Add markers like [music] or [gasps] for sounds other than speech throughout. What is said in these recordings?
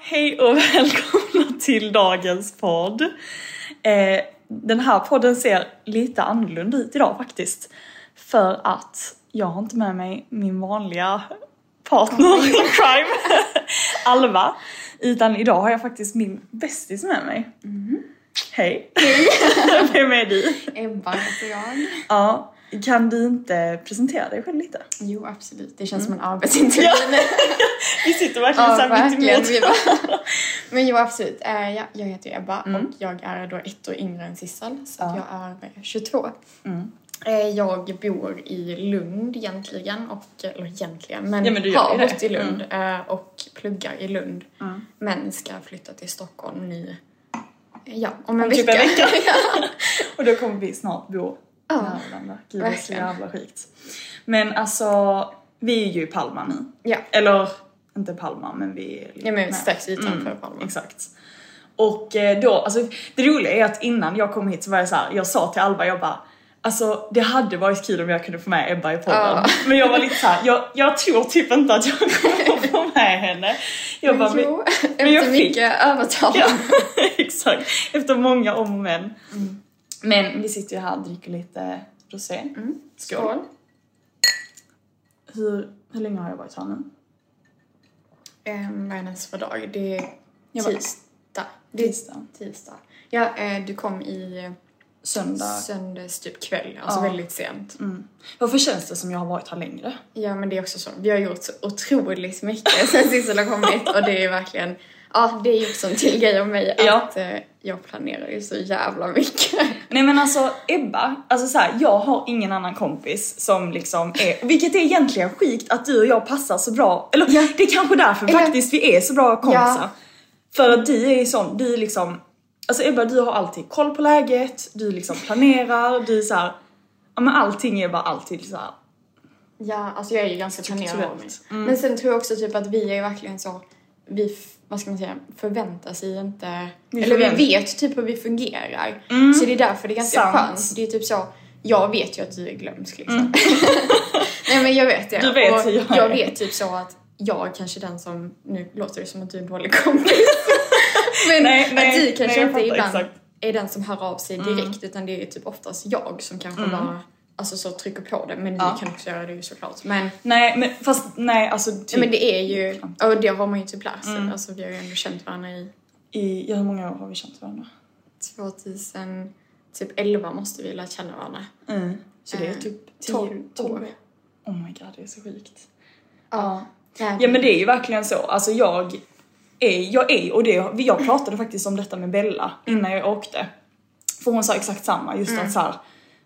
Hej och [laughs] välkomna till dagens podd. Eh, Den här podden ser lite annorlunda ut idag faktiskt. För att jag har inte med mig min vanliga partner in crime, [laughs] Alva. Utan idag har jag faktiskt min bästis med mig. Mhm. Hej! [laughs] Vem är du? Ebba heter jag. Ja, kan du inte presentera dig själv lite? Jo, absolut. Det känns som Mm. en arbetsintervju. [laughs] Ja, Vi sitter verkligen ja, såhär mittemot. Vi bara... Men jo, absolut. Eh, ja, jag heter ju Ebba Mm. och jag är då ett år yngre än Sissel, så att jag är 22. Mm. Eh, Jag bor i Lund egentligen, och, eller egentligen, men, Ja, men du gör har ju det. Mm. bott i Lund eh, och pluggar i Lund. Men ska flytta till Stockholm nu, eh, ja, om en Om vecka. typ en vecka. Och då kommer vi snart bo Ja, nära varandra. Gud, det är så verkligen. jävla sjukt. Men alltså, vi är ju i Palma nu. [laughs] Ja. Eller, inte Palma, men vi är lite Ja, men nära. strax utanför Palma. Mm, Exakt. Och eh, då, alltså det roliga är att innan jag kom hit så var jag så här, jag sa till Alva, jag bara Alltså det hade varit kul om jag kunde få med Ebba i podden. Ja. Men jag var lite såhär, jag, jag tror typ inte att jag kommer att få med henne. [laughs] Jag bara, men- jo, men jag efter fick- mycket övertal. Ja, [laughs] exakt. Efter många om och men. Mm. Men vi sitter ju här och dricker lite rosé. Skål. Skål. Mm. Hur, hur länge har jag varit här nu? Eh, vad är det ens för dag? Det är Jag bara- tisdag. Det är Tisdag. tisdag. Ja, eh, du kom i Söndag. söndags typ kväll, alltså väldigt sent. Mm. Varför känns det som jag har varit här längre? Ja, men det är också så. Vi har gjort så otroligt mycket [laughs] sen Sissel har kommit och det är verkligen, ja, det är ju också en till grej om mig Ja. att eh, jag planerar ju så jävla mycket. Nej men alltså Ebba, alltså så här, jag har ingen annan kompis som liksom är, vilket är egentligen sjukt att du och jag passar så bra, eller det är kanske därför Eller- faktiskt vi är så bra kompisar. Ja. För att du är ju sån, du är liksom, alltså Ebba du har alltid koll på läget, du liksom planerar, du är så här, ja men allting är bara alltid så här. Ja, alltså jag är ju Typ ganska planerad av mig. Strukturellt. Men sen tror jag också typ att vi är ju verkligen så, vi, f- vad ska man säga, förväntar sig inte, Vi eller förvänt- vi vet typ hur vi fungerar. Så det är därför det är ganska Sant. Mm. skönt. Det är typ så, jag vet ju att du är glömsk liksom. [laughs] Nej men jag vet det. Du vet Och hur jag jag, är. vet typ så att jag kanske är den som, nu låter det som att du är en dålig kompis. [laughs] men Nej, att nej, du kanske nej, jag inte fattar ibland exakt. Mm. är den som hör av sig direkt utan det är typ oftast jag som kanske bara Alltså så trycker på det, men Ja. ni kan också göra det ju såklart. Men Nej men fast nej alltså typ Ja, men det är ju, och det har man ju typ lärt sig. Alltså vi har ju ändå känt varandra i i, ja, hur många år har vi känt varandra? 2000, typ 11 måste vi ha lärt känna varandra. Så det är Eh, typ 10, 12 år. Oh my god det är så sjukt. Ja. Ja men det är ju verkligen så, alltså jag är, jag är och det, jag pratade faktiskt om detta med Bella innan jag åkte. För hon sa exakt samma, just Mm. att så här,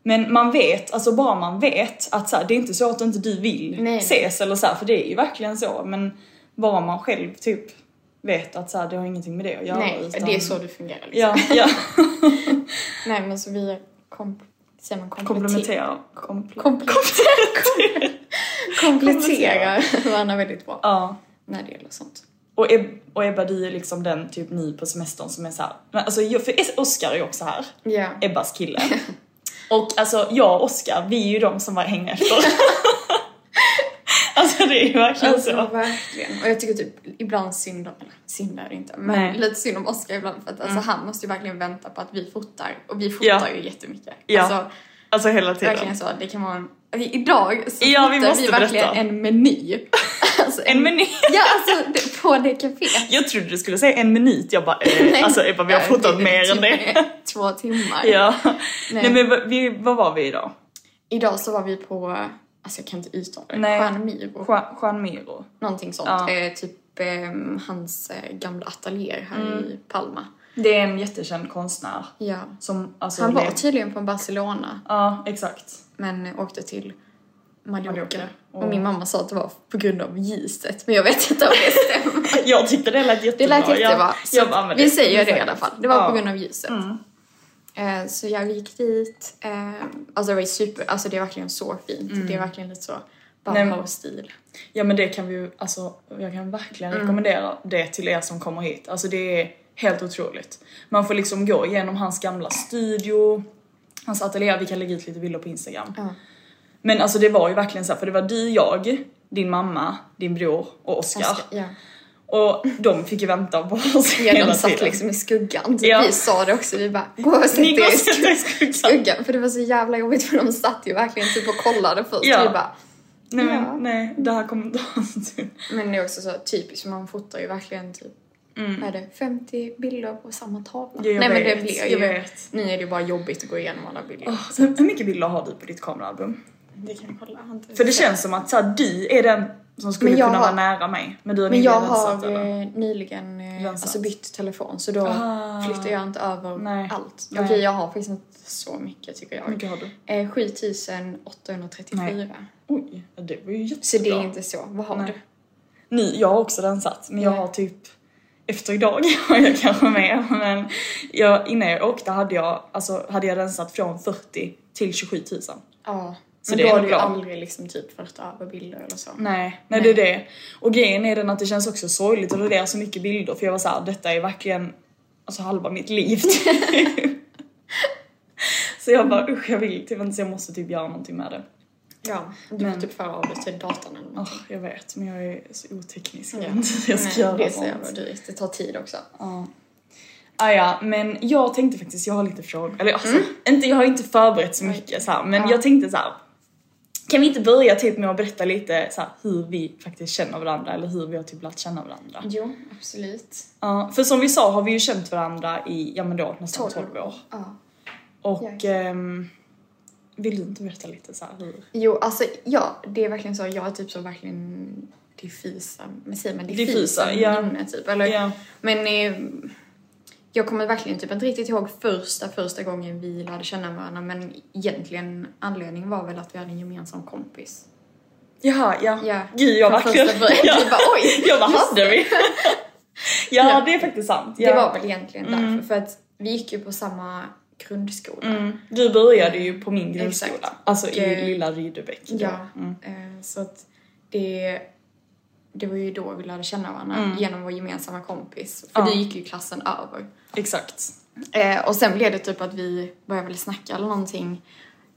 men man vet, alltså bara man vet att så här, det är inte så att inte du vill Nej. ses eller så här, för det är ju verkligen så men bara man själv typ vet att så här, det har ingenting med det att göra Nej, utan- det är så det fungerar liksom. Ja, [laughs] ja. [laughs] Nej men så vi kom, säger man kompletter, Komplementera. Komple- [laughs] kompletter, kompletterar varandra väldigt bra ja. när det gäller sånt. Och, Eb- och Ebba du är liksom den typ ny på semestern som är såhär, alltså jag- för Oskar är ju också här, Ja. Ebbas kille. [laughs] och alltså jag och Oskar, vi är ju de som var hänger efter. [laughs] alltså det är ju verkligen Alltså så. verkligen. Och jag tycker typ ibland synd om, eller synd är det inte, men Nej. Mm. lite synd om Oscar ibland för att alltså, han måste ju verkligen vänta på att vi fotar och vi fotar Ja. ju jättemycket. Ja, Alltså Alltså hela verkligen tiden. så, det kan vara en, vi- idag så Ja, vi fotar måste vi verkligen berätta. en meny. Alltså, En meny. [laughs] Ja alltså det, på det caféet. Jag trodde du skulle säga en minut, jag bara eh, alltså Ebba vi har Ja, fotat det är mer än typ det. Två [laughs] timmar. ja. Nej. Nej, men vad- vi, vad var vi idag? Idag så var vi på, alltså jag kan inte uttala det, Nej. Stjärnemyr och Juan, Juan Miro. någonting sånt. Ja. Eh, typ ehm, hans eh, gamla ateljéer här Mm. i Palma. Det är en jättekänd konstnär. Ja. Som, alltså, Han var lev- tydligen på Barcelona Ja, exakt. men åkte till Mallorca. Mallorca. Och min mamma sa att det var på grund av giset men jag vet inte om det stämmer. Jag tyckte [laughs] det lät Det jättebra. lät jättebra. Jag, Så jag bara, men vi säger det i exakt. alla fall. Det var Ja. Mm. på grund av ljuset. Eh, Så jag gick dit. eh, Alltså det var ju super, alltså det är verkligen så fint. Det är verkligen lite så Mm. men- Bauhaus-stil. Ja men det kan vi ju, alltså jag kan verkligen Mm. rekommendera det till er som kommer hit. Alltså det är helt otroligt. Man får liksom gå igenom hans gamla studio, hans ateljé, vi kan lägga ut lite bilder på instagram. Men alltså det var ju verkligen så här, för det var du, jag, din mamma, din bror och Oskar. Oskar, ja. Och de fick ju vänta på oss [laughs] Ja, hela de satt tiden. liksom i skuggan. Ja. Vi sa det också, vi bara gå och sätt Ni går er och i sätter skuggan. er i skuggan. skuggan. För det var så jävla jobbigt för de satt ju verkligen typ och kollade först. Ja. Vi bara, [laughs] Nej men Ja. nej, det här kommer inte ha en stund. men det är också så typiskt, för man fotar ju verkligen typ vad är det, 50 bilder på samma tavla. Ja, Mm. jag Nej men det vet, blir jag ju, vet. nu är det ju bara jobbigt att gå igenom alla bilder. Alltså, Hur, hur mycket bilder har du typ, på ditt kameraalbum? Det kan jag kolla. Inte För det känns som att så här, du är den som skulle Men kunna jag vara har- nära mig. Men du har men nyligen jag rensat, har eller? eh, nyligen eh, Rensat. alltså bytt telefon så då flyttar jag inte över Ah. Nej. allt. Nej. Okej jag har faktiskt inte så mycket tycker jag. Hur mycket har du? Eh, 7834. Nej. Oj, ja, det var ju jättebra. Så det är inte så. Vad har du? Nu, jag har också rensat, men jag har typ efter idag [laughs] har jag kanske mer men jag, innan jag åkte hade jag, alltså, hade jag rensat från 40 till 27 000. Ja. Så men det då är har nog du ju bra. aldrig liksom typ fått över bilder eller så. Nej, nej, det är det. Och grejen är den att det känns också sorgligt att radera så mycket bilder för jag var såhär, detta är verkligen alltså, halva mitt liv [laughs] typ. Så jag bara usch jag vill typ inte så jag måste typ göra någonting med det. Ja, du får typ föra av dig till datorn eller något. Åh, jag vet men jag är så oteknisk. Jag Ja. vet inte hur jag ska Nej, göra Det är så sånt. jävla dyrt. Det tar tid också. Ah, ja, men jag tänkte faktiskt, jag har lite frågor, eller Mm. alltså, inte, jag har inte förberett så mycket så här, men jag tänkte så här. Kan vi inte börja typ med att berätta lite så här, hur vi faktiskt känner varandra eller hur vi har typ lärt känna varandra? Jo, absolut. Ja, för som vi sa har vi ju känt varandra i, ja men då nästan 12, Tolv. år. Ja. Och ehm, vill du inte berätta lite så här hur? Jo, alltså ja, det är verkligen så. Jag är typ så verkligen diffusa, men säger man diffusa, Diffusa, ja. minnen typ? Eller, Ja. Men eh, jag kommer verkligen typ inte riktigt ihåg första, första gången vi lärde känna varandra men egentligen anledningen var väl att vi hade en gemensam kompis. Jaha, ja. [laughs] Ja. Gud jag Från verkligen... första början, Ja. vi bara, oj, jag bara, just hade vi? ja, det är faktiskt sant. Ja. Mm. Det var väl egentligen därför, för att vi gick ju på samma grundskola. Du började ju på min grundskola, Exakt. alltså Och, i eh, lilla Rydebäck. då. Ja, Mm. eh, så att det, det var ju då vi lärde känna varandra Mm. genom vår gemensamma kompis. För du gick ju klassen över. Exakt. Eh, och sen blev det typ att vi började väl snacka eller någonting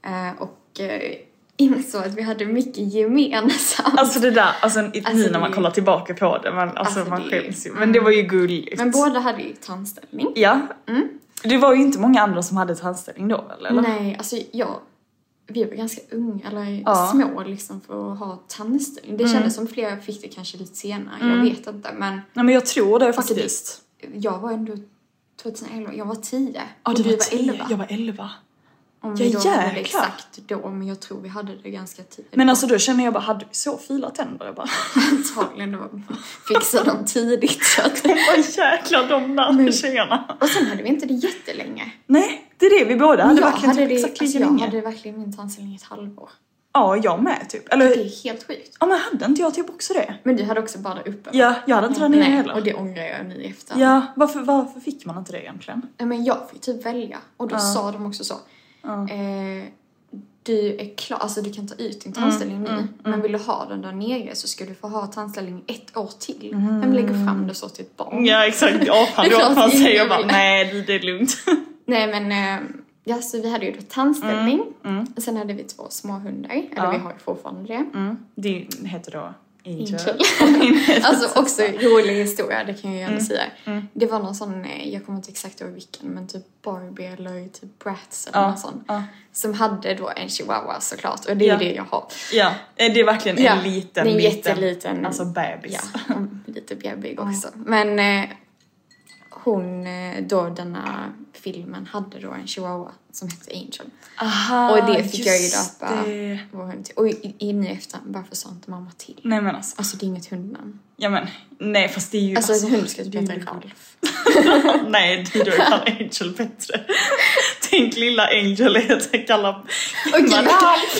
eh, och eh, insåg att vi hade mycket gemensamt. Alltså det där, alltså, nu Alltså, när man det- kollar tillbaka på det, man, alltså, Alltså, man det- skäms ju. Men det var ju liksom. gulligt. Men Mm. båda hade ju tandställning. Ja. Det var ju inte många andra som hade tandställning då väl? Eller? Nej, alltså jag... Vi var ganska unga, eller Ja. Mm. små liksom, för att ha tandställning. Det kändes som flera fick det kanske lite senare, jag vet inte. Men Nej men jag tror det Alltså, det- faktiskt. jag var ändå 2011, jag var 10. Ja du var, tio, 11. jag var elva. Om Ja, vi då hade det jäklar. exakt då, men jag tror vi hade det ganska tidigt. Men alltså då känner jag bara, hade vi så fila tänder? Jag bara, [laughs] [laughs] Antagligen då fixade de tidigt. [laughs] Så att... vad jäklar de där tjejerna. Och sen hade vi inte det jättelänge. Nej, det är det vi båda hade jag verkligen hade typ det, exakt alltså, lika jag länge. hade verkligen min tandställning i ett halvår. Ja, jag med typ. Eller, Det är helt sjukt. ja men hade inte jag typ också det? Men du hade också bara uppe. Ja, jag hade inte den nere Nej, heller. och det ångrar jag nu i efterhand. Ja, varför, varför fick man inte det egentligen? Nej, Men jag fick typ välja och då sa de också så. Eh, du är klar, alltså du kan ta ut din tandställning nu. Men vill du ha den där nere så ska du få ha tandställning ett år till. Vem lägger fram det så till ett barn? Ja exakt, [laughs] apan Det är då. klart Man ingen säger bara vill. nej det- det är lugnt. Nej men, eh, ja, så vi hade ju då tandställning. Sen hade vi två små hundar, eller vi har ju fortfarande det. [laughs] Det heter då Angel. Kul. alltså också rolig historia, det kan jag ju Mm, ändå säga. Det var någon sån, eh, jag kommer inte exakt ihåg vilken, men typ Barbie eller typ Bratz eller någon sån. Som hade då en chihuahua såklart, och det är Ja. det jag har. Ja, eh, det är verkligen en Ja, liten, det är en liten, jätteliten- alltså Ja, bebis. och lite bjäbbig också. Men eh, hon, eh, då denna filmen, hade då en chihuahua som hette Angel. Aha, och det fick jag ju just döpa det. vår hund till. Och i, i nu efter, varför sa inte mamma till? Nej men alltså, Alltså det är inget hundnamn. ja men nej fast det är ju Alltså, en hund ska typ det är heta ju- Ralf. Nej, det är fan Angel bättre. Tänk lilla Angel heter kalla Okej,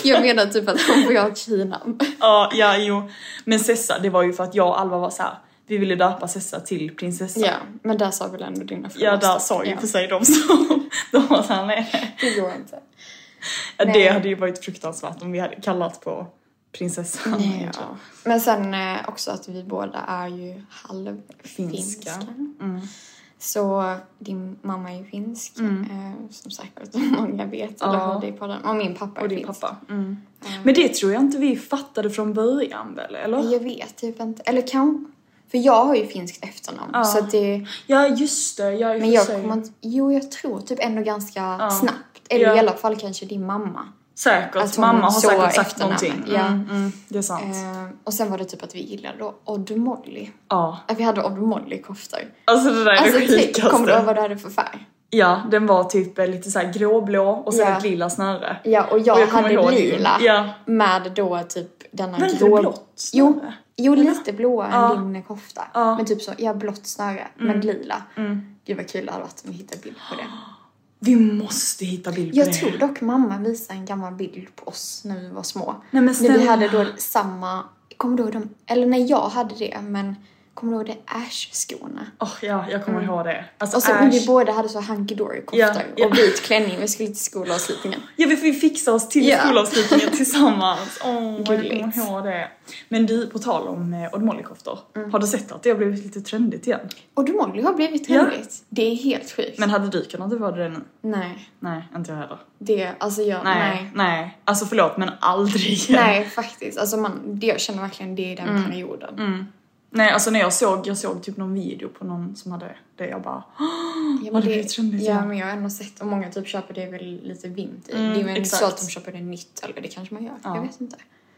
jag menar typ att hon får ha ett tjejnamn. Ja, ja, jo. Men Sessa, det var ju för att jag och Alva var så här. vi ville döpa Sessa till prinsessa. Ja, men där sa väl ändå dina Ja, där förlåsta. sa ju för ja, sig de så. [laughs] De var såhär, nej. Det går inte. Ja, Det Nej. hade ju varit fruktansvärt om vi hade kallat på prinsessan. Nej, ja. Men sen eh, också att vi båda är ju halvfinska. Finska. Så din mamma är ju finsk, eh, som säkert [laughs] många vet eller hörde i podden. Och min pappa är Och din finsk. pappa. Mm. Men det tror jag inte vi fattade från början väl, eller? Jag vet typ inte. Eller kan... För jag har ju finskt efternamn. Så att det... Ja, just det. Ja, i och Men för jag sig. kommer inte... Jo, jag tror typ ändå ganska snabbt. Eller Ja. i alla fall kanske din mamma. Säkert. att hon Mamma har alltså, så säkert sagt efternamnet, någonting. ja. Mm, mm, det är sant. Eh, och sen var det typ att vi gillade då Odd Molly. Ja. Att vi hade Odd Molly-koftor. Alltså det där är Alltså, det tänk, sjukaste. kommer du ihåg vad du hade för färg? Ja, den var typ eh, lite såhär gråblå och sen Ja. ett lila snöre. Ja, och jag, kommer hade ihåg din. lila Ja. med då typ denna Men lite blått snöre? Jo, jo lite blåa Ja. Mm. än din kofta. Men typ så, ja blått snöre, men lila. Gud vad kul det hade varit om vi hittade bild [gasps] på det. Vi måste hitta bild på Jag det. tror dock mamma visade en gammal bild på oss när vi var små. men när vi snälla. hade då samma, kommer du ihåg de, eller när jag hade det, men kommer du ihåg det ash-skorna? Åh, ja, jag kommer ihåg det. Alltså, Och så Ash- Mm. vi båda hade så hunky dory koftor Ja, ja. och vit klänning. Vi skulle till skolavslutningen. Ja, vi vi fixade oss till Ja. [laughs] skolavslutningen tillsammans. Åh, jag Gulligt. kommer ihåg det. Men du, på tal om eh, Odd Molly-koftor. Mm. Har du sett att det har blivit lite trendigt igen? Och du Molly har blivit Ja. trendigt. Det är helt sjukt. Men hade du kunnat vara det nu? nej, Nej, inte jag heller. det, alltså jag, Nej, nej. nej. Alltså förlåt, men aldrig igen. Nej, faktiskt. Alltså man, det, jag känner verkligen det i den Mm. perioden. Nej, alltså när jag såg, jag såg typ någon video på någon som hade det, jag bara Ja, Har men det blivit trendigt Ja, igen? men jag har ändå sett och många typ köper det väl lite vint i. det är väl inte Mm, exakt. så att de köper det nytt, eller det kanske man gör. Jag vet inte.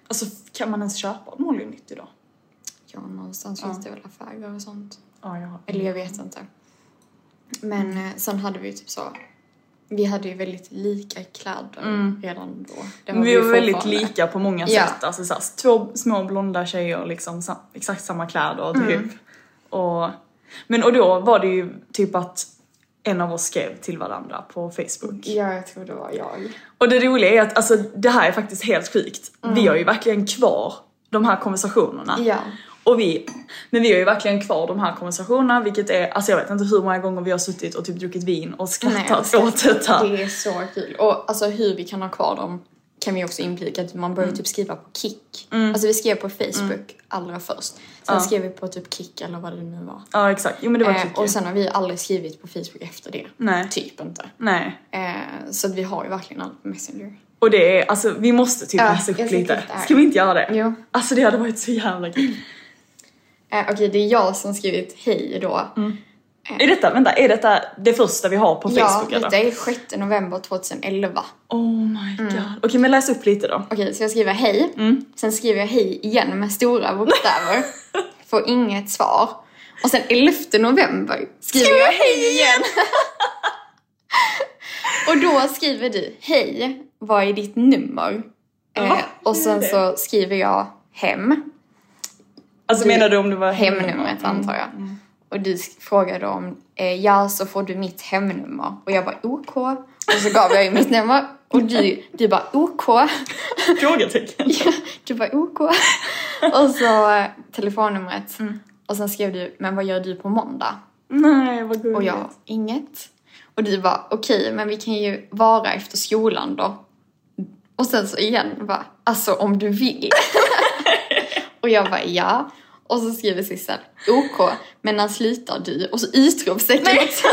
Alltså kan man ens köpa Molly nytt idag? Ja, någonstans finns det väl affärer och sånt. Ja, jag har. Eller jag vet inte. Men eh, sen hade vi ju typ så... Vi hade ju väldigt lika kläder redan då. Det Mm. Vi ju var väldigt fortfarande. lika på många Ja. sätt. Alltså så här, två små blonda tjejer, liksom sa, exakt samma kläder typ. Mm. Och, men och då var det ju typ att en av oss skrev till varandra på Facebook. Ja, jag tror det var jag. Och det roliga är att alltså, det här är faktiskt helt sjukt. Vi har ju verkligen kvar de här konversationerna. Mm. Ja. Och vi, men vi har ju verkligen kvar de här konversationerna vilket är, alltså jag vet inte hur många gånger vi har suttit och typ druckit vin och skrattat Nej, åt detta. Det är så kul. Och alltså hur vi kan ha kvar dem kan vi också implika att man börjar Mm. typ skriva på Kik. Alltså vi skrev på Facebook allra först. Sen skrev vi på typ Kik eller vad det nu var. Ja exakt, jo men det var typ Eh, kul. och sen har vi aldrig skrivit på Facebook efter det. Nej. Typ inte. Nej. Eh, så att vi har ju verkligen allt på Messenger. Och det är, alltså vi måste typ Ja, läsa jag upp ska lite. titta här. Ska vi inte göra det? Jo. Alltså det hade varit så jävla kul. Eh, Okej, det är jag som skrivit hej Mm. då. Är detta, vänta, är detta det första vi har på Ja, Facebook detta eller? är 6 november 2011. Oh my Mm. god. Okej men läs upp lite då. Okej, så jag skriver hej. Sen skriver jag hej igen med stora bokstäver. Får inget svar. Och sen 11 november skriver jag hej igen. [laughs] och då skriver du hej, vad är ditt nummer? Eh, och sen så skriver jag hem. Alltså menar du om det var Hemnumret antar jag. Och du sk- frågade om, eh, ja så får du mitt hemnummer. Och jag bara OK. Och så gav jag ju mitt nummer. Och du, du bara OK. [laughs] Frågetecken. [laughs] Du bara OK. Och så eh, telefonnumret. Och sen skrev du, men vad gör du på måndag? Nej vad gulligt. Och jag, inget. Och du bara, okej men vi kan ju vara efter skolan då. Och sen så igen bara, alltså om du [laughs] vill. och jag bara ja. Och så skriver Sissel, OK, men när slutar du? Och så utropstecken [laughs] också.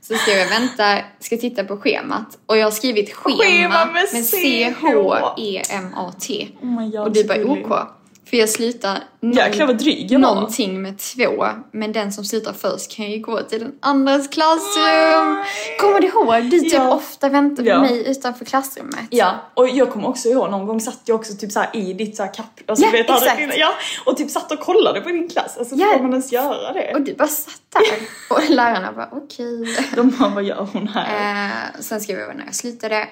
Så skrev jag vänta, ska titta på schemat. Och jag har skrivit schema, Schema med med E C-H-E-M-A-T. Oh my God, och du så bara gullig. OK. För jag slutar Jäklar vad dryg jag var. någonting med två. Men den som slutar först kan ju gå till den andras klassrum. Kommer du ihåg? Du typ Ja. ofta väntar på Ja. mig utanför klassrummet. Ja, och jag kommer också ihåg någon gång satt jag också typ så här i ditt så här kapp... Alltså, Ja, du vet, hade- exakt. ja, och typ satt och kollade på din klass. Alltså Ja. får man ens göra det? Och du bara satt där. Och lärarna bara okej. De bara, vad gör hon här? Eh, sen skrev jag när jag slutade.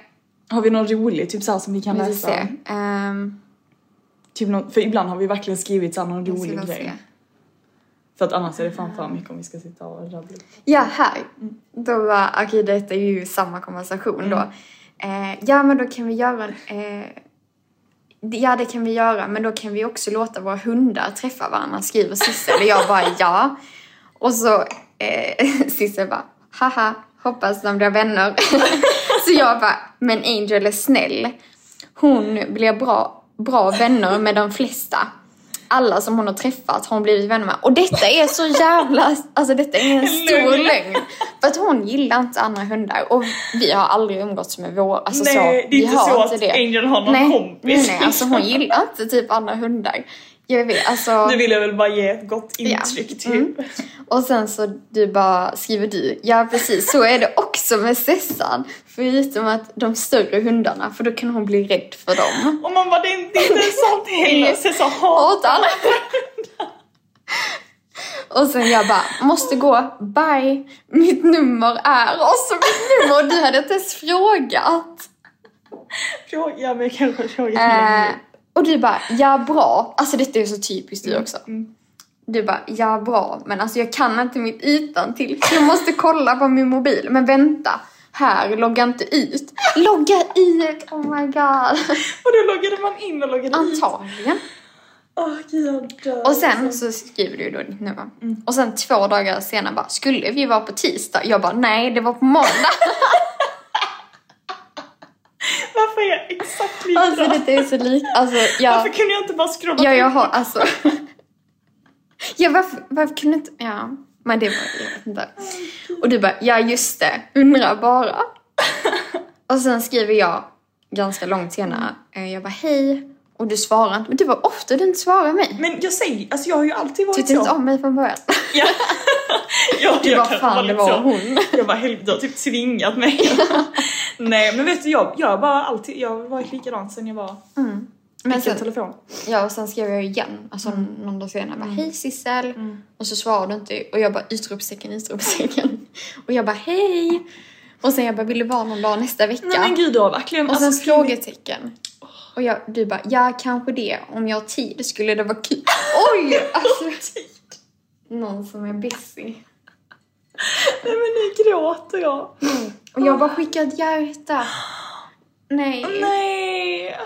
Har vi någon rolig typ så här som vi kan Vi får läsa? se. Ehm, Typ någon, för ibland har vi verkligen skrivit så här någon vi rolig får se. grej. För att annars är det fan för mycket om vi ska sitta och rabbla. Ja, här. Då var, okej detta är ju samma konversation då. Mm. Eh, ja men då kan vi göra en, eh, Ja det kan vi göra men då kan vi också låta våra hundar träffa varandra skriver Sissel och jag bara ja. Och så eh, [laughs] Sissel bara haha hoppas de blir vänner. [laughs] så jag bara men Angel är snäll. Hon blir bra, bra vänner med de flesta. Alla som hon har träffat har hon blivit vänner med. Och detta är så jävla, alltså detta är en stor Lögn. lögn. För att hon gillar inte andra hundar och vi har aldrig umgåtts med vår, alltså så. Nej, det är vi inte har så att Angel har någon nej, kompis. Nej, nej, alltså hon gillar inte typ andra hundar. Jag vet, alltså. Nu vill jag väl bara ge ett gott Ja. intryck typ. Mm. Och sen så du bara skriver du, ja precis så är det också med Sessan. Förutom att de större hundarna, för då kan hon bli rädd för dem. Och man bara, det är inte, det är inte [laughs] sånt heller. Så så Hatar hatar alla Och sen jag bara, måste gå, bye, mitt nummer är... Och så mitt nummer, och du hade inte ens frågat. fråga mig kanske fråga Eh, länge. och du bara, ja bra. Alltså detta är ju så typiskt du också. Du bara, ja bra, men alltså jag kan inte mitt utan till. Jag måste kolla på min mobil. Men vänta, här, logga inte ut. Logga ut, oh my god. Och då loggade man in och loggade ut. Antagligen. Åh gud jag dör. Och sen så skriver du då ditt nummer. Och sen två dagar senare bara, skulle vi vara på tisdag? Jag bara, nej det var på måndag. [laughs] Varför är jag exakt likadan? Alltså detta är så likt, alltså Varför jag... kunde jag inte bara scrolla Ja, jag upp? har alltså... [laughs] ja, varför, varför kunde inte... Ja, men det var... Jag vet inte. Och du bara, ja just det, undrar bara. [laughs] och sen skriver jag ganska långt senare, Mm. eh, jag bara hej. Och du svarar inte, men det var ofta du inte svarade mig. Men jag säger, alltså jag har ju alltid varit Tyckte inte om mig från [laughs] början. [laughs] Ja. ja, Du jag bara, kan fan, vara det lite var så. hon. [laughs] Jag bara helvete, du har typ tvingat [laughs] mig. Nej men vet du, jag, jag har bara alltid, jag har varit likadan sen jag var, Men fick en sen, telefon. Mm. ja, och sen skrev jag igen, alltså någon dag senare, bara, hej Sissel. Och så svarade du inte och jag bara utropstecken, utropstecken. [laughs] och jag bara hej. Och sen jag bara, vill du vara någon dag nästa vecka? Nej men gud du har verkligen, Och sen alltså, frågetecken. Och jag, du bara, ja kanske det. Om jag har tid skulle det vara kul. [laughs] Oj! Alltså, någon som är busy. nej men nu gråter jag. Och jag bara skickar ett hjärta. Nej. Nej,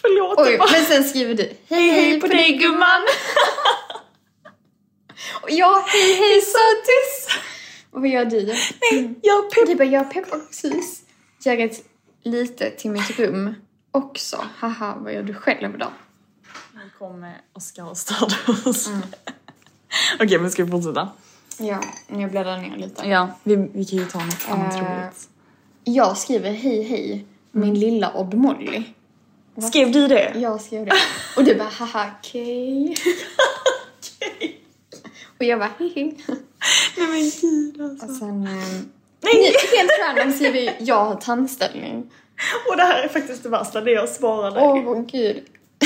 förlåt. Oj, jag bara, men sen skriver du, hej hej på dig gumman. [laughs] Och jag, hej hej sötis! Och vad gör du? Jag Du pepp. bara, jag har pepparkakshus. Jag ett lite till mitt rum också. Haha, vad gör du själv då? Nu kommer Oskar och störde oss. [laughs] Okej men ska vi fortsätta? Ja, jag bläddrar ner lite. Ja, vi, vi kan ju ta något annat Eh, roligt. Jag skriver hej hej, min lilla Odd Molly. Mm. Skrev du det? Mm. Jag skrev det. Och du bara haha okej. [laughs] Och jag bara hihi. Nej men gud alltså. Och sen... Eh, Nej! helt random skriver jag, jag har tandställning. Och det här är faktiskt det värsta, det jag svarade. Åh vad kul.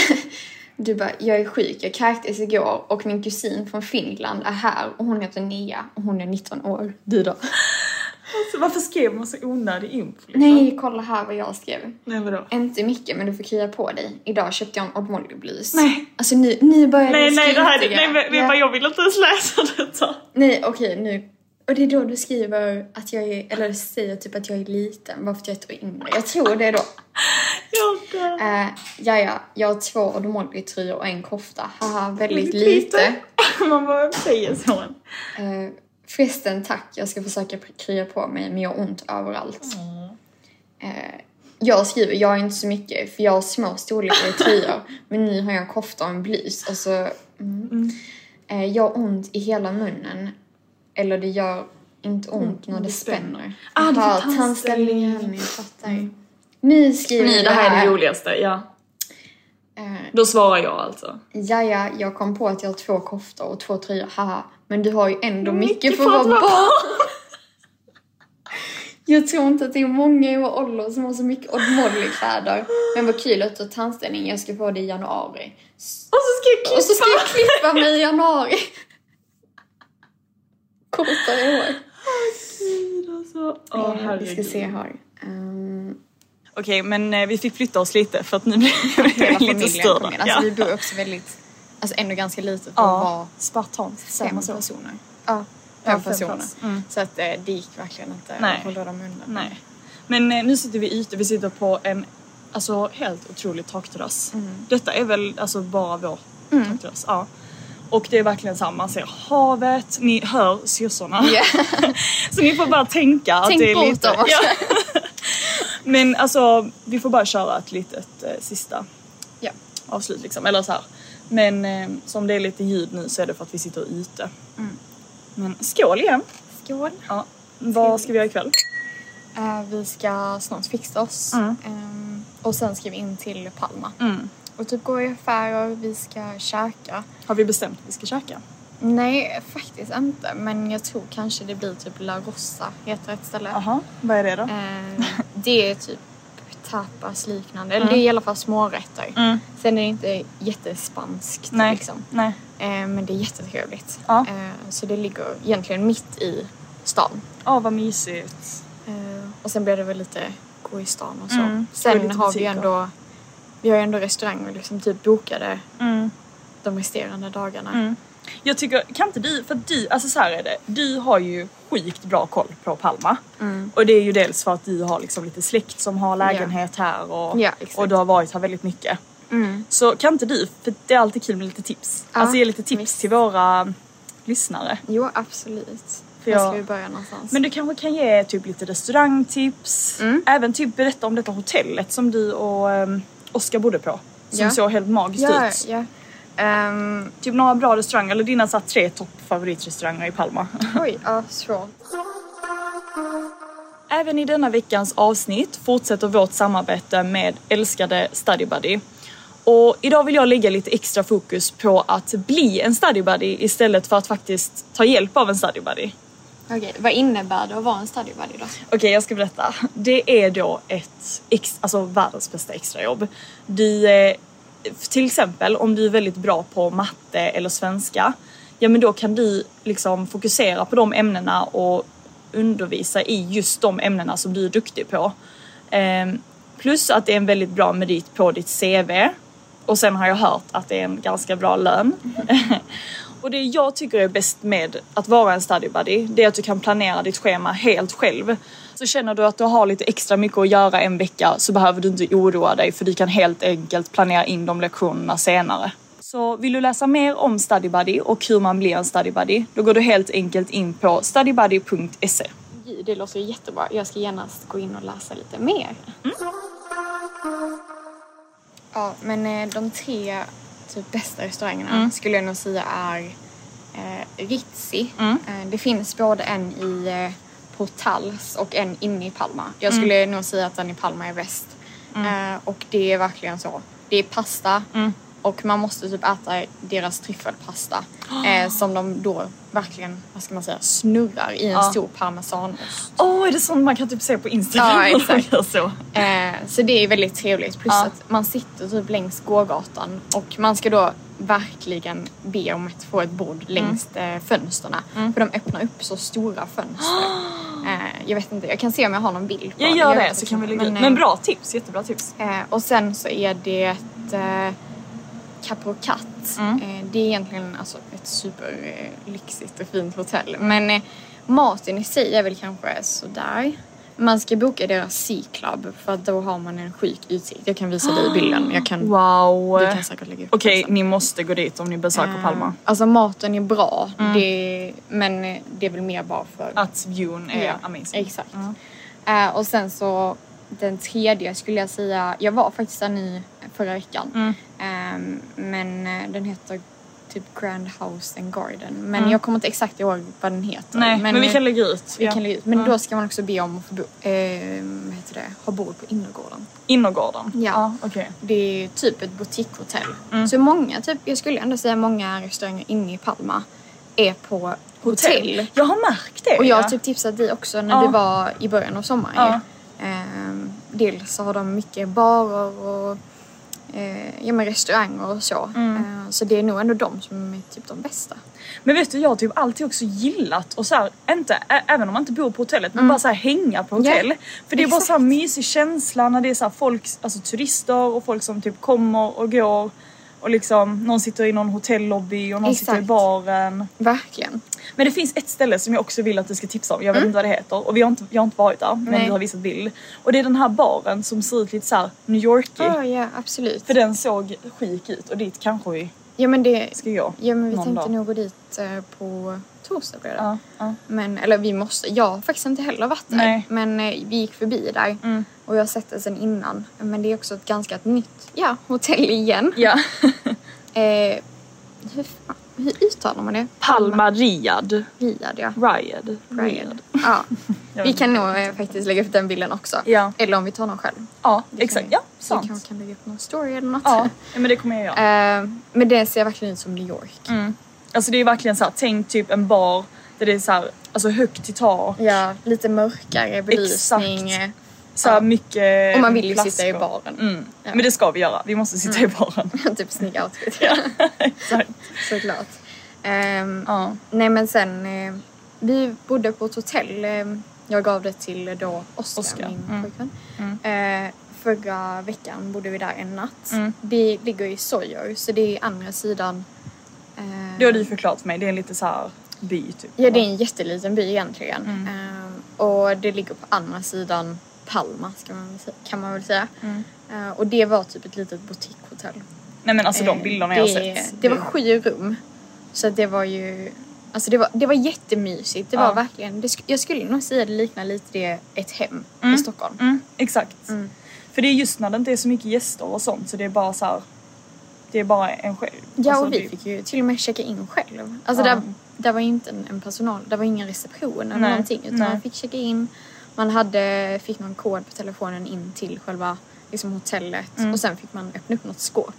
[laughs] Du bara, jag är sjuk, jag kräktes igår och min kusin från Finland är här och hon heter Nia och hon är 19 år. Du då? Alltså, varför skrev man så onödig info? liksom? Nej, [laughs] kolla här vad jag skrev. Nej vadå? Inte mycket men du får krya på dig. Idag köpte jag en Odd Molly-blus. Nej. Alltså nu, nu börjar Nej det nej det här är, skrika. nej men Ja. vet vad, jag vill inte ens läsa detta. Nej okej nu. Och det är då du skriver att jag är, eller säger typ att jag är liten bara för att jag är ett år yngre. Jag tror det är då. Jag dör. Uh, ja, ja, jag har två Odd tröjor och en kofta. Haha, väldigt Lite. [laughs] lite. Man bara säger så. Uh, förresten tack, jag ska försöka pr- krya på mig men jag har ont överallt. Eh, Jag skriver, jag är inte så mycket för jag har små storlekar i [laughs] tröjor men nu har jag en kofta och en blus. Alltså, mm. Eh, Jag har ont i hela munnen. Eller det gör inte ont när Mm, det Mm. spänner. Ah, det är Jaha, för tandställningen. Jag fattar. Nu skriver Ni, jag det här är det roligaste, ja. Eh, Då svarar jag alltså. Ja, ja, jag kom på att jag har två koftor och två tröjor, haha. Men du har ju ändå mycket, Mycket för att vara barn. Jag tror inte att det är många i vår ålder som har så mycket Odd Molly-kläder. Men vad kul att du har tandställning, jag ska få det i januari. S- [laughs] Och så ska jag klippa! Och så ska jag klippa mig i januari. Kortare hår. Alltså, åh vi ska herregud. se här. Ehm, Okej, men eh, vi fick flytta oss lite för att nu blir hela vi [laughs] lite familjen störda. kom in. Alltså vi bor också väldigt, alltså ändå ganska litet för att vara ja. Spartanskt. fem säger man så. personer. Ja, fem personer. plats. Mm. Så att eh, det gick verkligen inte Nej. att hålla dem undan. Nej. Men eh, nu sitter vi ute, vi sitter på en alltså, helt otrolig takterrass. Mm. Detta är väl alltså bara vår takterrass. Ja. Och det är verkligen så här, man ser havet, ni hör syrsorna. Ja. [laughs] så ni får bara tänka att Tänk det är bort lite... dem också. Men alltså, vi får bara köra ett litet eh, sista Ja. avslut liksom. Eller så här. Men eh, som det är lite ljud nu så är det för att vi sitter ute. Men skål igen! Skål. Mm. Ja. Vad ska vi göra ikväll? Eh, vi ska snart fixa oss. Ehm, och sen ska vi in till Palma. Mm. Och typ gå i affärer, vi ska käka. Har vi bestämt att vi ska käka? Nej, faktiskt inte. Men jag tror kanske det blir typ La Rosa, heter ett ställe. Jaha, vad är det då? Ehm, det är typ tapas liknande. Eller Mm. det är i alla fall smårätter. Sen är det inte jättespanskt Nej. liksom. Nej. Ehm, men det är jättetrevligt. Ja. Ehm, så det ligger egentligen mitt i stan. Åh vad mysigt. Eh, och sen blir det väl lite gå i stan och så. Mm, och Sen lite har vi ju butiker. ändå, vi har ju ändå restauranger liksom typ bokade Mm. de resterande dagarna. Jag tycker, kan inte du, för du, alltså så här är det, du har ju sjukt bra koll på Palma. Och det är ju dels för att du har liksom lite släkt som har lägenhet här och, Ja, exakt. och du har varit här väldigt mycket. Så kan inte du, för det är alltid kul med lite tips, Ja, alltså ge lite tips visst. till våra lyssnare. Jo, absolut. För Var ska jag- vi börja någonstans? Men du kanske kan ge typ lite restaurangtips, Mm. även typ berätta om detta hotellet som du och um, Oskar bodde på. Som Ja. såg helt magiskt ja, ut. ja. Ehm, Typ några bra restauranger, eller dina så här, tre toppfavoritrestauranger i Palma. [laughs] oj, ja, svårt. Även i denna veckans avsnitt fortsätter vårt samarbete med älskade StudyBuddy. Och idag vill jag lägga lite extra fokus på att bli en StudyBuddy istället för att faktiskt ta hjälp av en StudyBuddy. Okej, vad innebär det att vara en study buddy då? Okej, jag ska berätta. Det är då ett, ex, alltså världens bästa extrajobb. Du, eh, till exempel om du är väldigt bra på matte eller svenska, ja men då kan du liksom fokusera på de ämnena och undervisa i just de ämnena som du är duktig på. Ehm, plus att det är en väldigt bra merit på ditt CV. Och sen har jag hört att det är en ganska bra lön. Mhm. [laughs] Och det jag tycker är bäst med att vara en study buddy, det är att du kan planera ditt schema helt själv. Så känner du att du har lite extra mycket att göra en vecka så behöver du inte oroa dig för du kan helt enkelt planera in de lektionerna senare. Så vill du läsa mer om study buddy och hur man blir en study buddy, då går du helt enkelt in på studybuddy.se. Gud, Det låter ju jättebra. Jag ska genast gå in och läsa lite mer. Ja, men eh, de tre typ bästa restaurangerna skulle jag nog säga är eh, Ritzi. Eh, det finns både en i eh, Portals och en inne i Palma. Jag skulle nog säga att den i Palma är bäst. Eh, och det är verkligen så. Det är pasta och man måste typ äta deras tryffelpasta eh, som de då verkligen, vad ska man säga, snurrar i en stor parmesanost. Åh, är det sånt man kan typ se på Instagram? Ja, [laughs] exakt. Eller så? Eh, så det är väldigt trevligt. Plus Ja. att man sitter typ längs gågatan och man ska då verkligen be om att få ett Mm. bord längs eh, fönstren. För de öppnar upp så stora [gasps] fönster. eh, jag vet inte, jag kan se om jag har någon bild på Jag gör det vet så inte, kan vi lägga ut. eh, Men bra tips, jättebra tips. Eh, och sen så är det ett eh, Caprocat. Mm. Eh, det är egentligen alltså, ett superlyxigt och fint hotell. Men eh, maten i sig är väl kanske sådär. Man ska boka deras C-club för att då har man en sjuk utsikt. Jag kan visa dig bilden. Jag [gasps] kan, Wow. Du kan säkert lägga upp den Okej, sen. ni måste gå dit om ni besöker Palma. Mm. Alltså maten är bra, det, men eh, det är väl mer bara för Att viewn är amazing. Exakt. Eh, och sen så den tredje skulle jag säga, jag var faktiskt där i förra veckan. Mm. Ehm, men eh, den heter typ Grand House and Garden. Men jag kommer inte exakt ihåg vad den heter. Mm. Nej, men, vi eh, kan lägga ut. vi Ja. kan lägga ut. Men då ska man också be om att få bo, ehm, vad heter det? ha bord på innergården. Innergården? Ja. okej. Mm. Det är ju typ ett boutiquehotell. Så många, typ, jag skulle ändå säga många restauranger inne i Palma är på hotell. Jag har märkt det. Och jag har ja. typ tipsat dig också när Ja. vi var i början av sommaren Ja. ju. Ehm, Dels så har de mycket barer och eh, ja, men restauranger och så. Mm. Ehm, så det är nog ändå de som är typ de bästa. Men vet du, jag har typ alltid också gillat och så här, inte, ä- även om man inte bor på hotellet, men bara så här hänga på hotell. Mm. Ja, För det är bara exakt. så här mysig känsla när det är så här folk, alltså turister och folk som typ kommer och går. Och liksom, någon sitter i någon hotellobby och någon sitter i Exakt. baren. Verkligen. Men det finns ett ställe som jag också vill att du ska tipsa om. Jag vet inte vad det heter och vi har inte, jag har inte varit där men Mm. Nej. du har visat bild. Och det är den här baren som ser ut lite så här New Yorkig. Ja, ja absolut. För den såg sjuk ut och dit kanske vi Ja men det... ska gå. Ja men vi någon tänkte dag. nog gå dit eh, på torsdag blev det. Ja, ja. Men, eller vi måste, jag har faktiskt inte heller varit där. Nej. Mm. Men eh, vi gick förbi där och jag har sett det sen innan. Men det är också ett ganska ett nytt ja, hotell igen. [laughs] Ja. Eh, hur, fan, hur uttalar man det? Palma Riyadh. Riad ja. Riyadh. Riad. Ja. Jag Vi vet kan nog eh, faktiskt lägga upp den bilden också. Ja. Eller om vi tar någon själv. Ja, Det kan exakt. vi- Ja, Vi sant. kanske kan lägga upp någon story eller något. Ja, men det kommer jag göra. [laughs] Eh, men det ser verkligen ut som New York. Alltså det är verkligen så här, tänk typ en bar där det är så här, alltså högt i tak. Ja, lite mörkare belysning. Exakt. eh, Så här mycket Och man vill ju flaskor. sitta i baren. Mm. Ja. Men det ska vi göra, vi måste sitta i baren. [laughs] typ snygg outfit. [laughs] Exakt. Såklart. Ehm, Ja. Nej men sen, eh, vi bodde på ett hotell. ehm, jag gav det till då Oskar, Oskar, min mm. pojkvän. Eh, förra veckan bodde vi där en natt. Mm. Det ligger i Sojer så det är andra sidan. ehm, Det har du förklarat för mig, det är en lite så här by typ. Ja det är en jätteliten by egentligen. Mm. Ehm, och det ligger på andra sidan Palma ska man, väl sä- kan man väl säga. Mm. Eh, och det var typ ett litet boutiquehotell. Nej men alltså de Eh, bilderna det, jag har sett. Mm. Det var sju rum. Så att det var ju... Alltså det var, det var jättemysigt. Det Ja. var verkligen... Det, sk- jag skulle nog säga det liknar lite det ett hem i Stockholm. Mm, exakt. För det är just när det inte är så mycket gäster och sånt så det är bara så här. Det är bara en själv. Ja Alltså, och vi det- fick ju till och med checka in själv. Alltså Ja. där, där var ju inte en, en personal, där var ingen reception eller Nej, någonting. Utan nej. man fick checka in, man hade, fick någon kod på telefonen in till själva liksom, hotellet. Mm. Och sen fick man öppna upp något skåp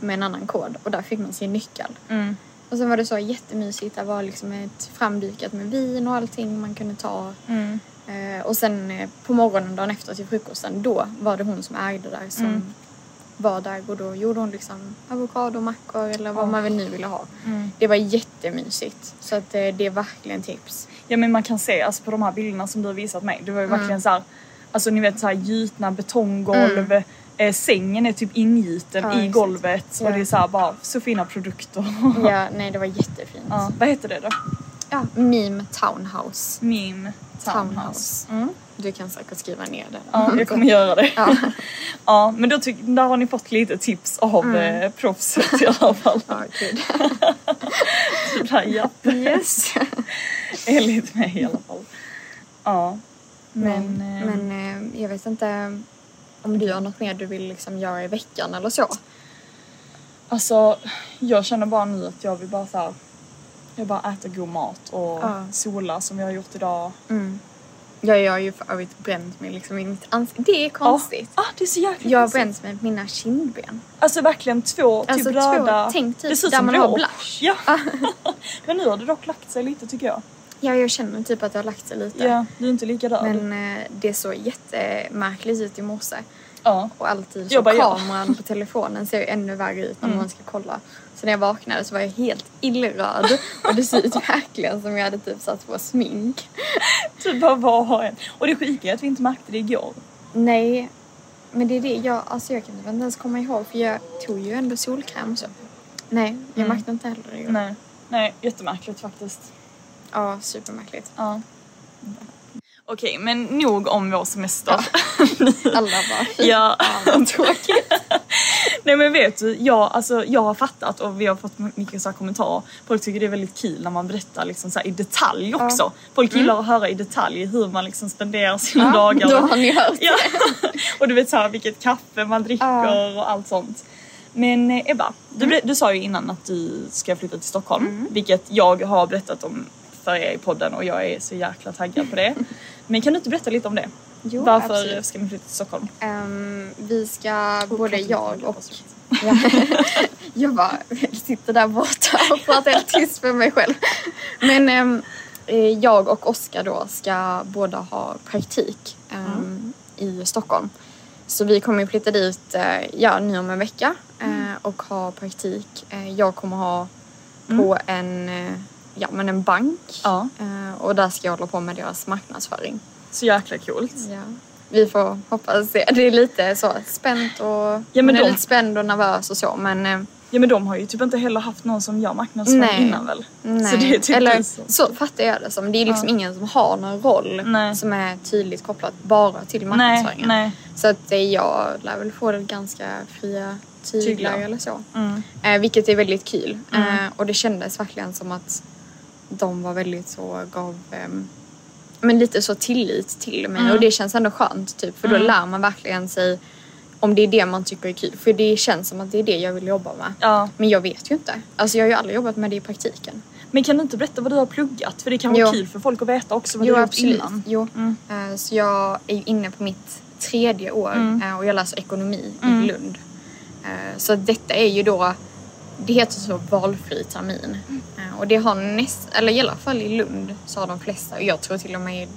med en annan kod och där fick man sin nyckel. Mm. Och sen var det så jättemysigt, där var liksom ett framdukat med vin och allting man kunde ta. Mm. Eh, och sen eh, på morgonen dagen efter till frukosten, då var det hon som ägde där som Mm. var där och då gjorde hon liksom avokadomackor eller vad man väl nu ville ha. Mm. Det var jättemysigt. Så att eh, det är verkligen tips. Ja men man kan se alltså på de här bilderna som du har visat mig. Det var ju Mm. verkligen så här, alltså ni vet så här gjutna betonggolv. Eh, sängen är typ ingjuten Mm. Ja, i exakt. golvet och Ja. det är så här bara så fina produkter. [laughs] Ja, nej det var jättefint. ja. Vad heter det då? Ja, meme townhouse. Meme Townhouse. Townhouse. Mm. Du kan säkert skriva ner det. [laughs] Ja, jag kommer göra det. [laughs] Ja, men då tyck, där har ni fått lite tips av Mm. eh, proffset i alla fall. Ja, gud. Sådär, ja. Yes. [laughs] Enligt mig i alla fall. Ja. Men, Men, eh, men eh, jag vet inte om du har något mer du vill liksom göra i veckan eller så. alltså jag känner bara nu att jag vill bara så här, jag bara äter god mat och Ja. sola som jag har gjort idag. Ja, jag har ju för övrigt bränt mig liksom i mitt ansikte. Det är konstigt. Ja, ah, det är så jäkla Jag har konstigt. bränt mig med mina kindben. Alltså verkligen två typ Alltså, två- röda. tänk typ det ser ut där som man har dråp. blush. Ah. Ja. [laughs] men nu har det dock lagt sig lite tycker jag. Ja, jag känner typ att jag har lagt sig lite. Ja, du är inte lika röd. Men eh, det såg jättemärkligt ut i morse. ja. Och alltid så Jag bara, ja. Mm. kameran på telefonen ser ju ännu värre ut när man ska kolla. Så när jag vaknade så var jag helt illröd. och det ser ut verkligen som jag hade typ satt på smink. Typ bara vad har en? Och det sjuka är att vi inte märkte det igår. Nej, men det är det. Jag, alltså jag kan inte ens komma ihåg för jag tog ju ändå solkräm och så. Nej, jag märkte inte heller det. Mm. Nej. Nej, jättemärkligt faktiskt. Ja, [laughs] supermärkligt. Ja. Okej, men nog om vår semester. Alla bara, fy [laughs] Ja. fan vad tråkigt. [laughs] Nej men vet du, jag, alltså, jag har fattat och vi har fått mycket så här kommentarer. Folk tycker det är väldigt kul när man berättar liksom så här i detalj också. Folk gillar att höra i detalj hur man liksom spenderar sina Mm. Ja, dagar. Då och- har ni hört. Ja. [laughs] Och du vet så här, vilket kaffe man dricker och allt sånt. Men eh, Ebba, du, Mm. ber- du sa ju innan att du ska flytta till Stockholm, vilket jag har berättat om för er i podden och jag är så jäkla taggad på [laughs] det. Men kan du inte berätta lite om det? Jo, Varför absolut. ska man flytta till Stockholm? Ehm, vi ska, både pratar jag lite och... också. [laughs] Ja. jag bara sitter där borta och pratar helt tyst med mig själv. Men ehm, eh, jag och Oskar då ska båda ha praktik ehm, i Stockholm. Så vi kommer ju flytta dit eh, ja, nu om en vecka eh, Mm. och ha praktik. Eh, jag kommer ha på en, eh, ja, men en bank Mm. Ja. eh, och där ska jag hålla på med deras marknadsföring. Så jäkla coolt. Ja. Vi får hoppas det. Det är lite så spänt och... men man är de- lite spänd och nervös och så men... eh, Ja men de har ju typ inte heller haft någon som gör marknadsföring Nej. innan väl? Nej. Så det är typ Eller du som- så fattar jag det som. Det är liksom ingen som har någon roll Nej. som är tydligt kopplad bara till Nej, marknadsföringen. nej. Så att eh, jag lär väl få det ganska fria tyglar Tyglar. eller så. Mm. Eh, vilket är väldigt kul. Eh, och det kändes verkligen som att de var väldigt så, gav ehm, men lite så tillit till mig Mm. och det känns ändå skönt typ för då lär man verkligen sig om det är det man tycker är kul. För det känns som att det är det jag vill jobba med. Ja. Men jag vet ju inte. Alltså jag har ju aldrig jobbat med det i praktiken. Men kan du inte berätta vad du har pluggat? För det kan vara Jo. kul för folk att veta också vad du har gjort innan. Mm. Jo. Eh, Så jag är ju inne på mitt tredje år Mm. eh, och jag läser ekonomi i Lund. Eh, Så detta är ju då, det heter så valfri termin. Eh, Och det har näst, eller i alla fall i Lund så har de flesta, och jag tror till och med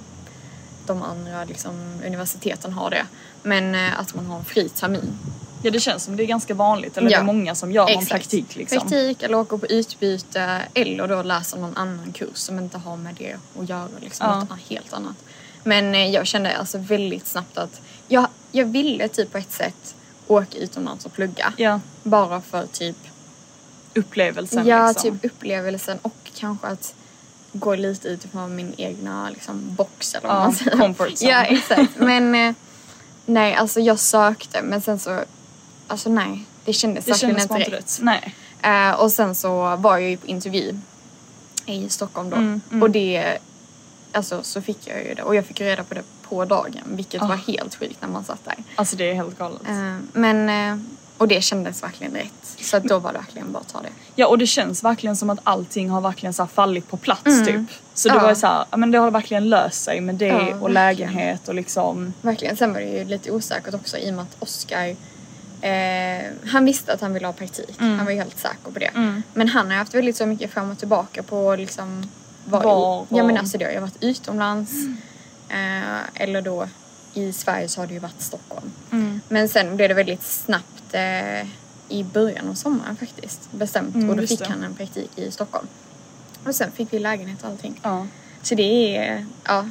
de andra liksom, universiteten har det. Men eh, att man har en fri termin. Ja det känns som det är ganska vanligt eller Ja. det är många som gör någon Exakt. praktik liksom. Praktik eller åker på utbyte eller då läser någon annan kurs som inte har med det att göra. Liksom, Ja. något helt annat. Men eh, jag kände alltså väldigt snabbt att jag, jag ville typ på ett sätt åka utomlands och plugga. Ja, Bara för typ, upplevelsen ja, liksom. typ upplevelsen och kanske att gå lite utifrån min egna liksom, box eller vad Ja, man säger. comfort zone. [laughs] Ja exakt. Men eh, nej alltså jag sökte men sen så, alltså nej. Det kändes Det verkligen kändes inte bara rätt. inte rätt. Nej. Eh, och sen så var jag ju på intervju i Stockholm då. Och det, alltså så fick jag ju det. Och jag fick ju reda på det på dagen vilket var helt sjukt när man satt där. Alltså det är helt galet. Eh, men, eh, och det kändes verkligen rätt. Så att då var det verkligen bara att ta det. Ja och det känns verkligen som att allting har verkligen så här fallit på plats typ. Så det Mm. Ja. var ju så här, ja, men det har verkligen löst sig med det Ja, och verkligen. lägenhet och liksom. Verkligen. Sen var det ju lite osäkert också i och med att Oscar Eh, han visste att han ville ha praktik. Mm. Han var ju helt säker på det. Men han har ju haft väldigt så mycket fram och tillbaka på liksom var, Var Ja och- Mm. men alltså det har ju varit utomlands. Eh, eller då i Sverige så har det ju varit Stockholm. Mm. Men sen blev det väldigt snabbt eh, i början av sommaren faktiskt bestämt. och då Mm, just fick det. han en praktik i Stockholm. Och sen fick vi lägenhet och allting. Ja. Så det är, ja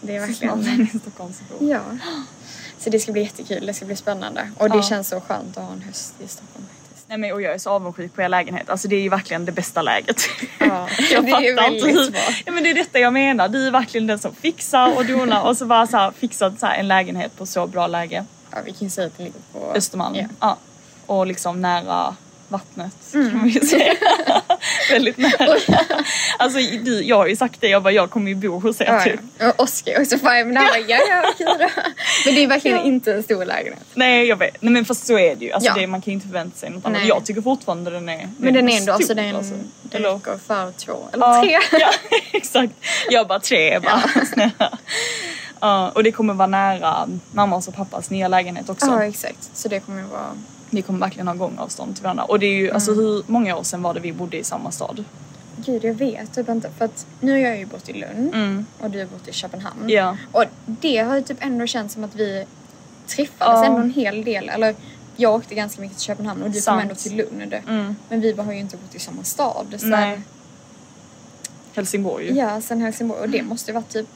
det är Snart verkligen är det Stockholmsbo. Ja. [gasps] Så det ska bli jättekul, det ska bli spännande. Och det känns så skönt att ha en höst i Stockholm faktiskt. Nej men och jag är så avundsjuk på er lägenhet. Alltså det är ju verkligen det bästa [laughs] läget. Ja, jag [laughs] det är fattar väldigt inte hur. bra. Ja, men det är detta jag menar. Du är verkligen den som fixar och donar och så bara så här, fixat så här en lägenhet på så bra läge. Ja, vi kan ju säga att det ligger på Östermalm. Ja. Ja. Och liksom nära vattnet Mm. kan man ju [laughs] säga. Väldigt nära. Alltså du, jag har ju sagt det, jag bara jag kommer ju bo hos er Ja, typ. ja. Och Oskar också, fan jag menar, ja, ja, Kira. [laughs] Men det är verkligen inte en stor lägenhet. Nej jag vet, nej men fast så är det ju. Alltså, Ja. det, man kan ju inte förvänta sig något annat. Nej. Jag tycker fortfarande den är Men den är stor, ändå, alltså den, alltså. den Eller- räcker för två, eller Ja, tre. [laughs] Ja, exakt. Jag bara tre bara. [laughs] Snälla. Ja, och det kommer vara nära mammas och pappas nya lägenhet också. [laughs] Ja, exakt. Så det kommer ju vara... Vi kommer verkligen ha gångavstånd till varandra. Och det är ju, alltså Mm. hur många år sedan var det vi bodde i samma stad? Gud, jag vet typ inte. För att nu har jag ju bott i Lund och du har bott i Köpenhamn. Mm. Ja. Och det har ju typ ändå känts som att vi träffades Ja. ändå en hel del. Eller jag åkte ganska mycket till Köpenhamn och du kom Sant. Mm. ändå till Lund. Men vi har ju inte bott i samma stad. Sen, Nej. Helsingborg ju. Ja, sen Helsingborg. Och Mm. det måste ju varit typ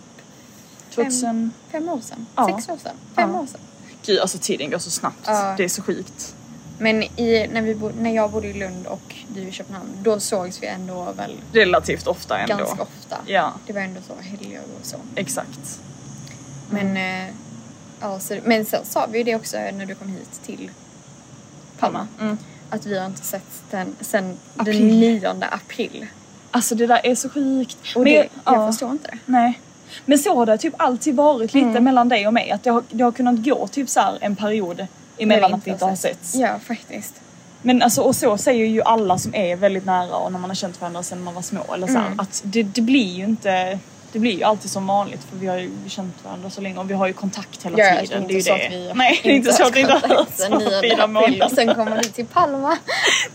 2000... fem år sedan. Ja. Sex år sedan. Fem Ja. år sedan. Gud alltså tiden går så snabbt. Ja. Det är så sjukt. Men i, när, vi bo, när jag bodde i Lund och du i Köpenhamn, då sågs vi ändå väl Relativt ofta ändå. ganska ofta. Ja. Det var ändå så helger och så. Exakt. Men, eh, ja, så, men sen sa vi ju det också när du kom hit till Palma. Att vi har inte sett den sen Mm. April. den 9 april. Alltså det där är så sjukt. Och Men- det, jag ja. förstår inte det. Nej. Men så har det typ alltid varit lite mellan dig och mig. Att det har, det har kunnat gå typ så här en period emellan att vi inte har setts. Ja, faktiskt. Men alltså, och så säger ju alla som är väldigt nära och när man har känt varandra sedan man var små. Eller så här, att det, det blir ju inte... Det blir ju alltid som vanligt för vi har ju känt varandra så länge och vi har ju kontakt hela Ja, ja, tiden. det är ju inte så att vi Nej, det är inte så att vi inte har hörts den på 9 Alltså, [laughs] fyra april och månader. sen kommer du till Palma.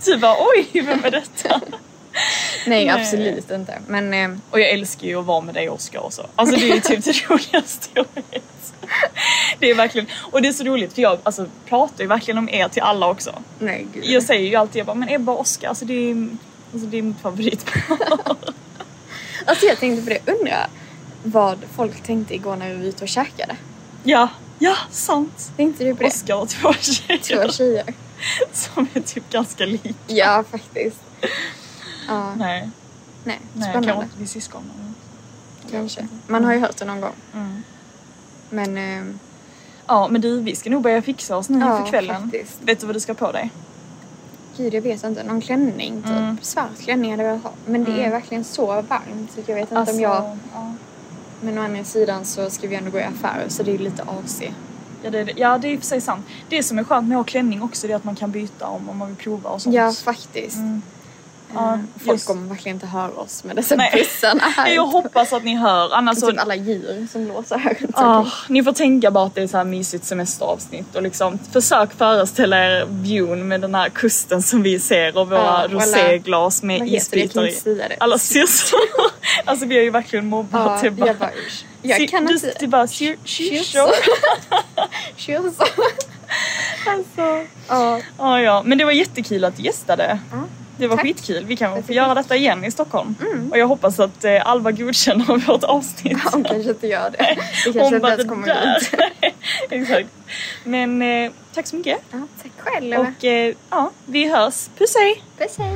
Typ bara oj, vem är detta? Nej, Nej. absolut inte. Men eh, Och jag älskar ju att vara med dig Oskar också. Alltså det är ju typ det [laughs] roligaste jag vet. Det är verkligen, och det är så roligt för jag alltså, pratar ju verkligen om er till alla också. nej gud. Jag säger ju alltid jag bara men Ebba och Oskar, alltså det är, alltså, det är mitt favoritpar. Alltså jag tänkte på det, undrar vad folk tänkte igår när vi var ute och käkade. [laughs] ja, ja sant. Tänkte du på det? Oskar och två tjejer Två tjejer. som är typ ganska lika. Ja, faktiskt. Ja, nej, Nej, nej spännande. kanske inte vi är syskon. men- Kanske. Man har ju hört det någon gång. Mm. Men eh, Ja men du vi ska nog börja fixa oss nu Ja, inför kvällen. faktiskt. Vet du vad du ska på dig? gud, jag vet inte. Någon klänning, typ. Mm. Svart klänning hade jag velat ha. Men det är verkligen så varmt. Så jag vet inte Alltså- om jag... ja. Men å andra sidan så ska vi ändå gå i affärer så det är lite AC. Ja det, är- ja det är i och för sig sant. Det som är skönt med att ha klänning också det är att man kan byta om, om man vill prova och sånt. Ja, faktiskt. Mm. Eh, Ja, Folk Mm, just- kommer verkligen inte höra oss med dessa Nej. bussarna här. Jag hoppas att ni hör annars så... Typ alla djur som låter här runt Ah, omkring. ni får tänka bara att det är så här mysigt semesteravsnitt och liksom försök föreställa er viewn med den här kusten som vi ser och våra Ja, och alla- roséglas med vad heter det? Jag isbitar kan inte säga i. det. Alla syrsor. [laughs] alltså vi har ju verkligen mobbat Ja, det typ bara. jag bara usch. Jag Sy- kan du, inte... Du bara syr- syrsor. [laughs] Syrsor. Cheers. Alltså. Ja, Ja, ja. Men det var jättekul att du gästade. Det var tack. Mm. skitkul. Vi Jag kan få tycker- göra detta igen i Stockholm. Och jag hoppas att eh, Alva godkänner [laughs] vårt avsnitt. hon kanske inte gör det. Vi Hon kanske inte bara, ens "Det kommer där." dit. Exakt. Men eh, tack så mycket. Ja, tack själv. Och eh, ja, vi hörs. Puss hej! Puss hej.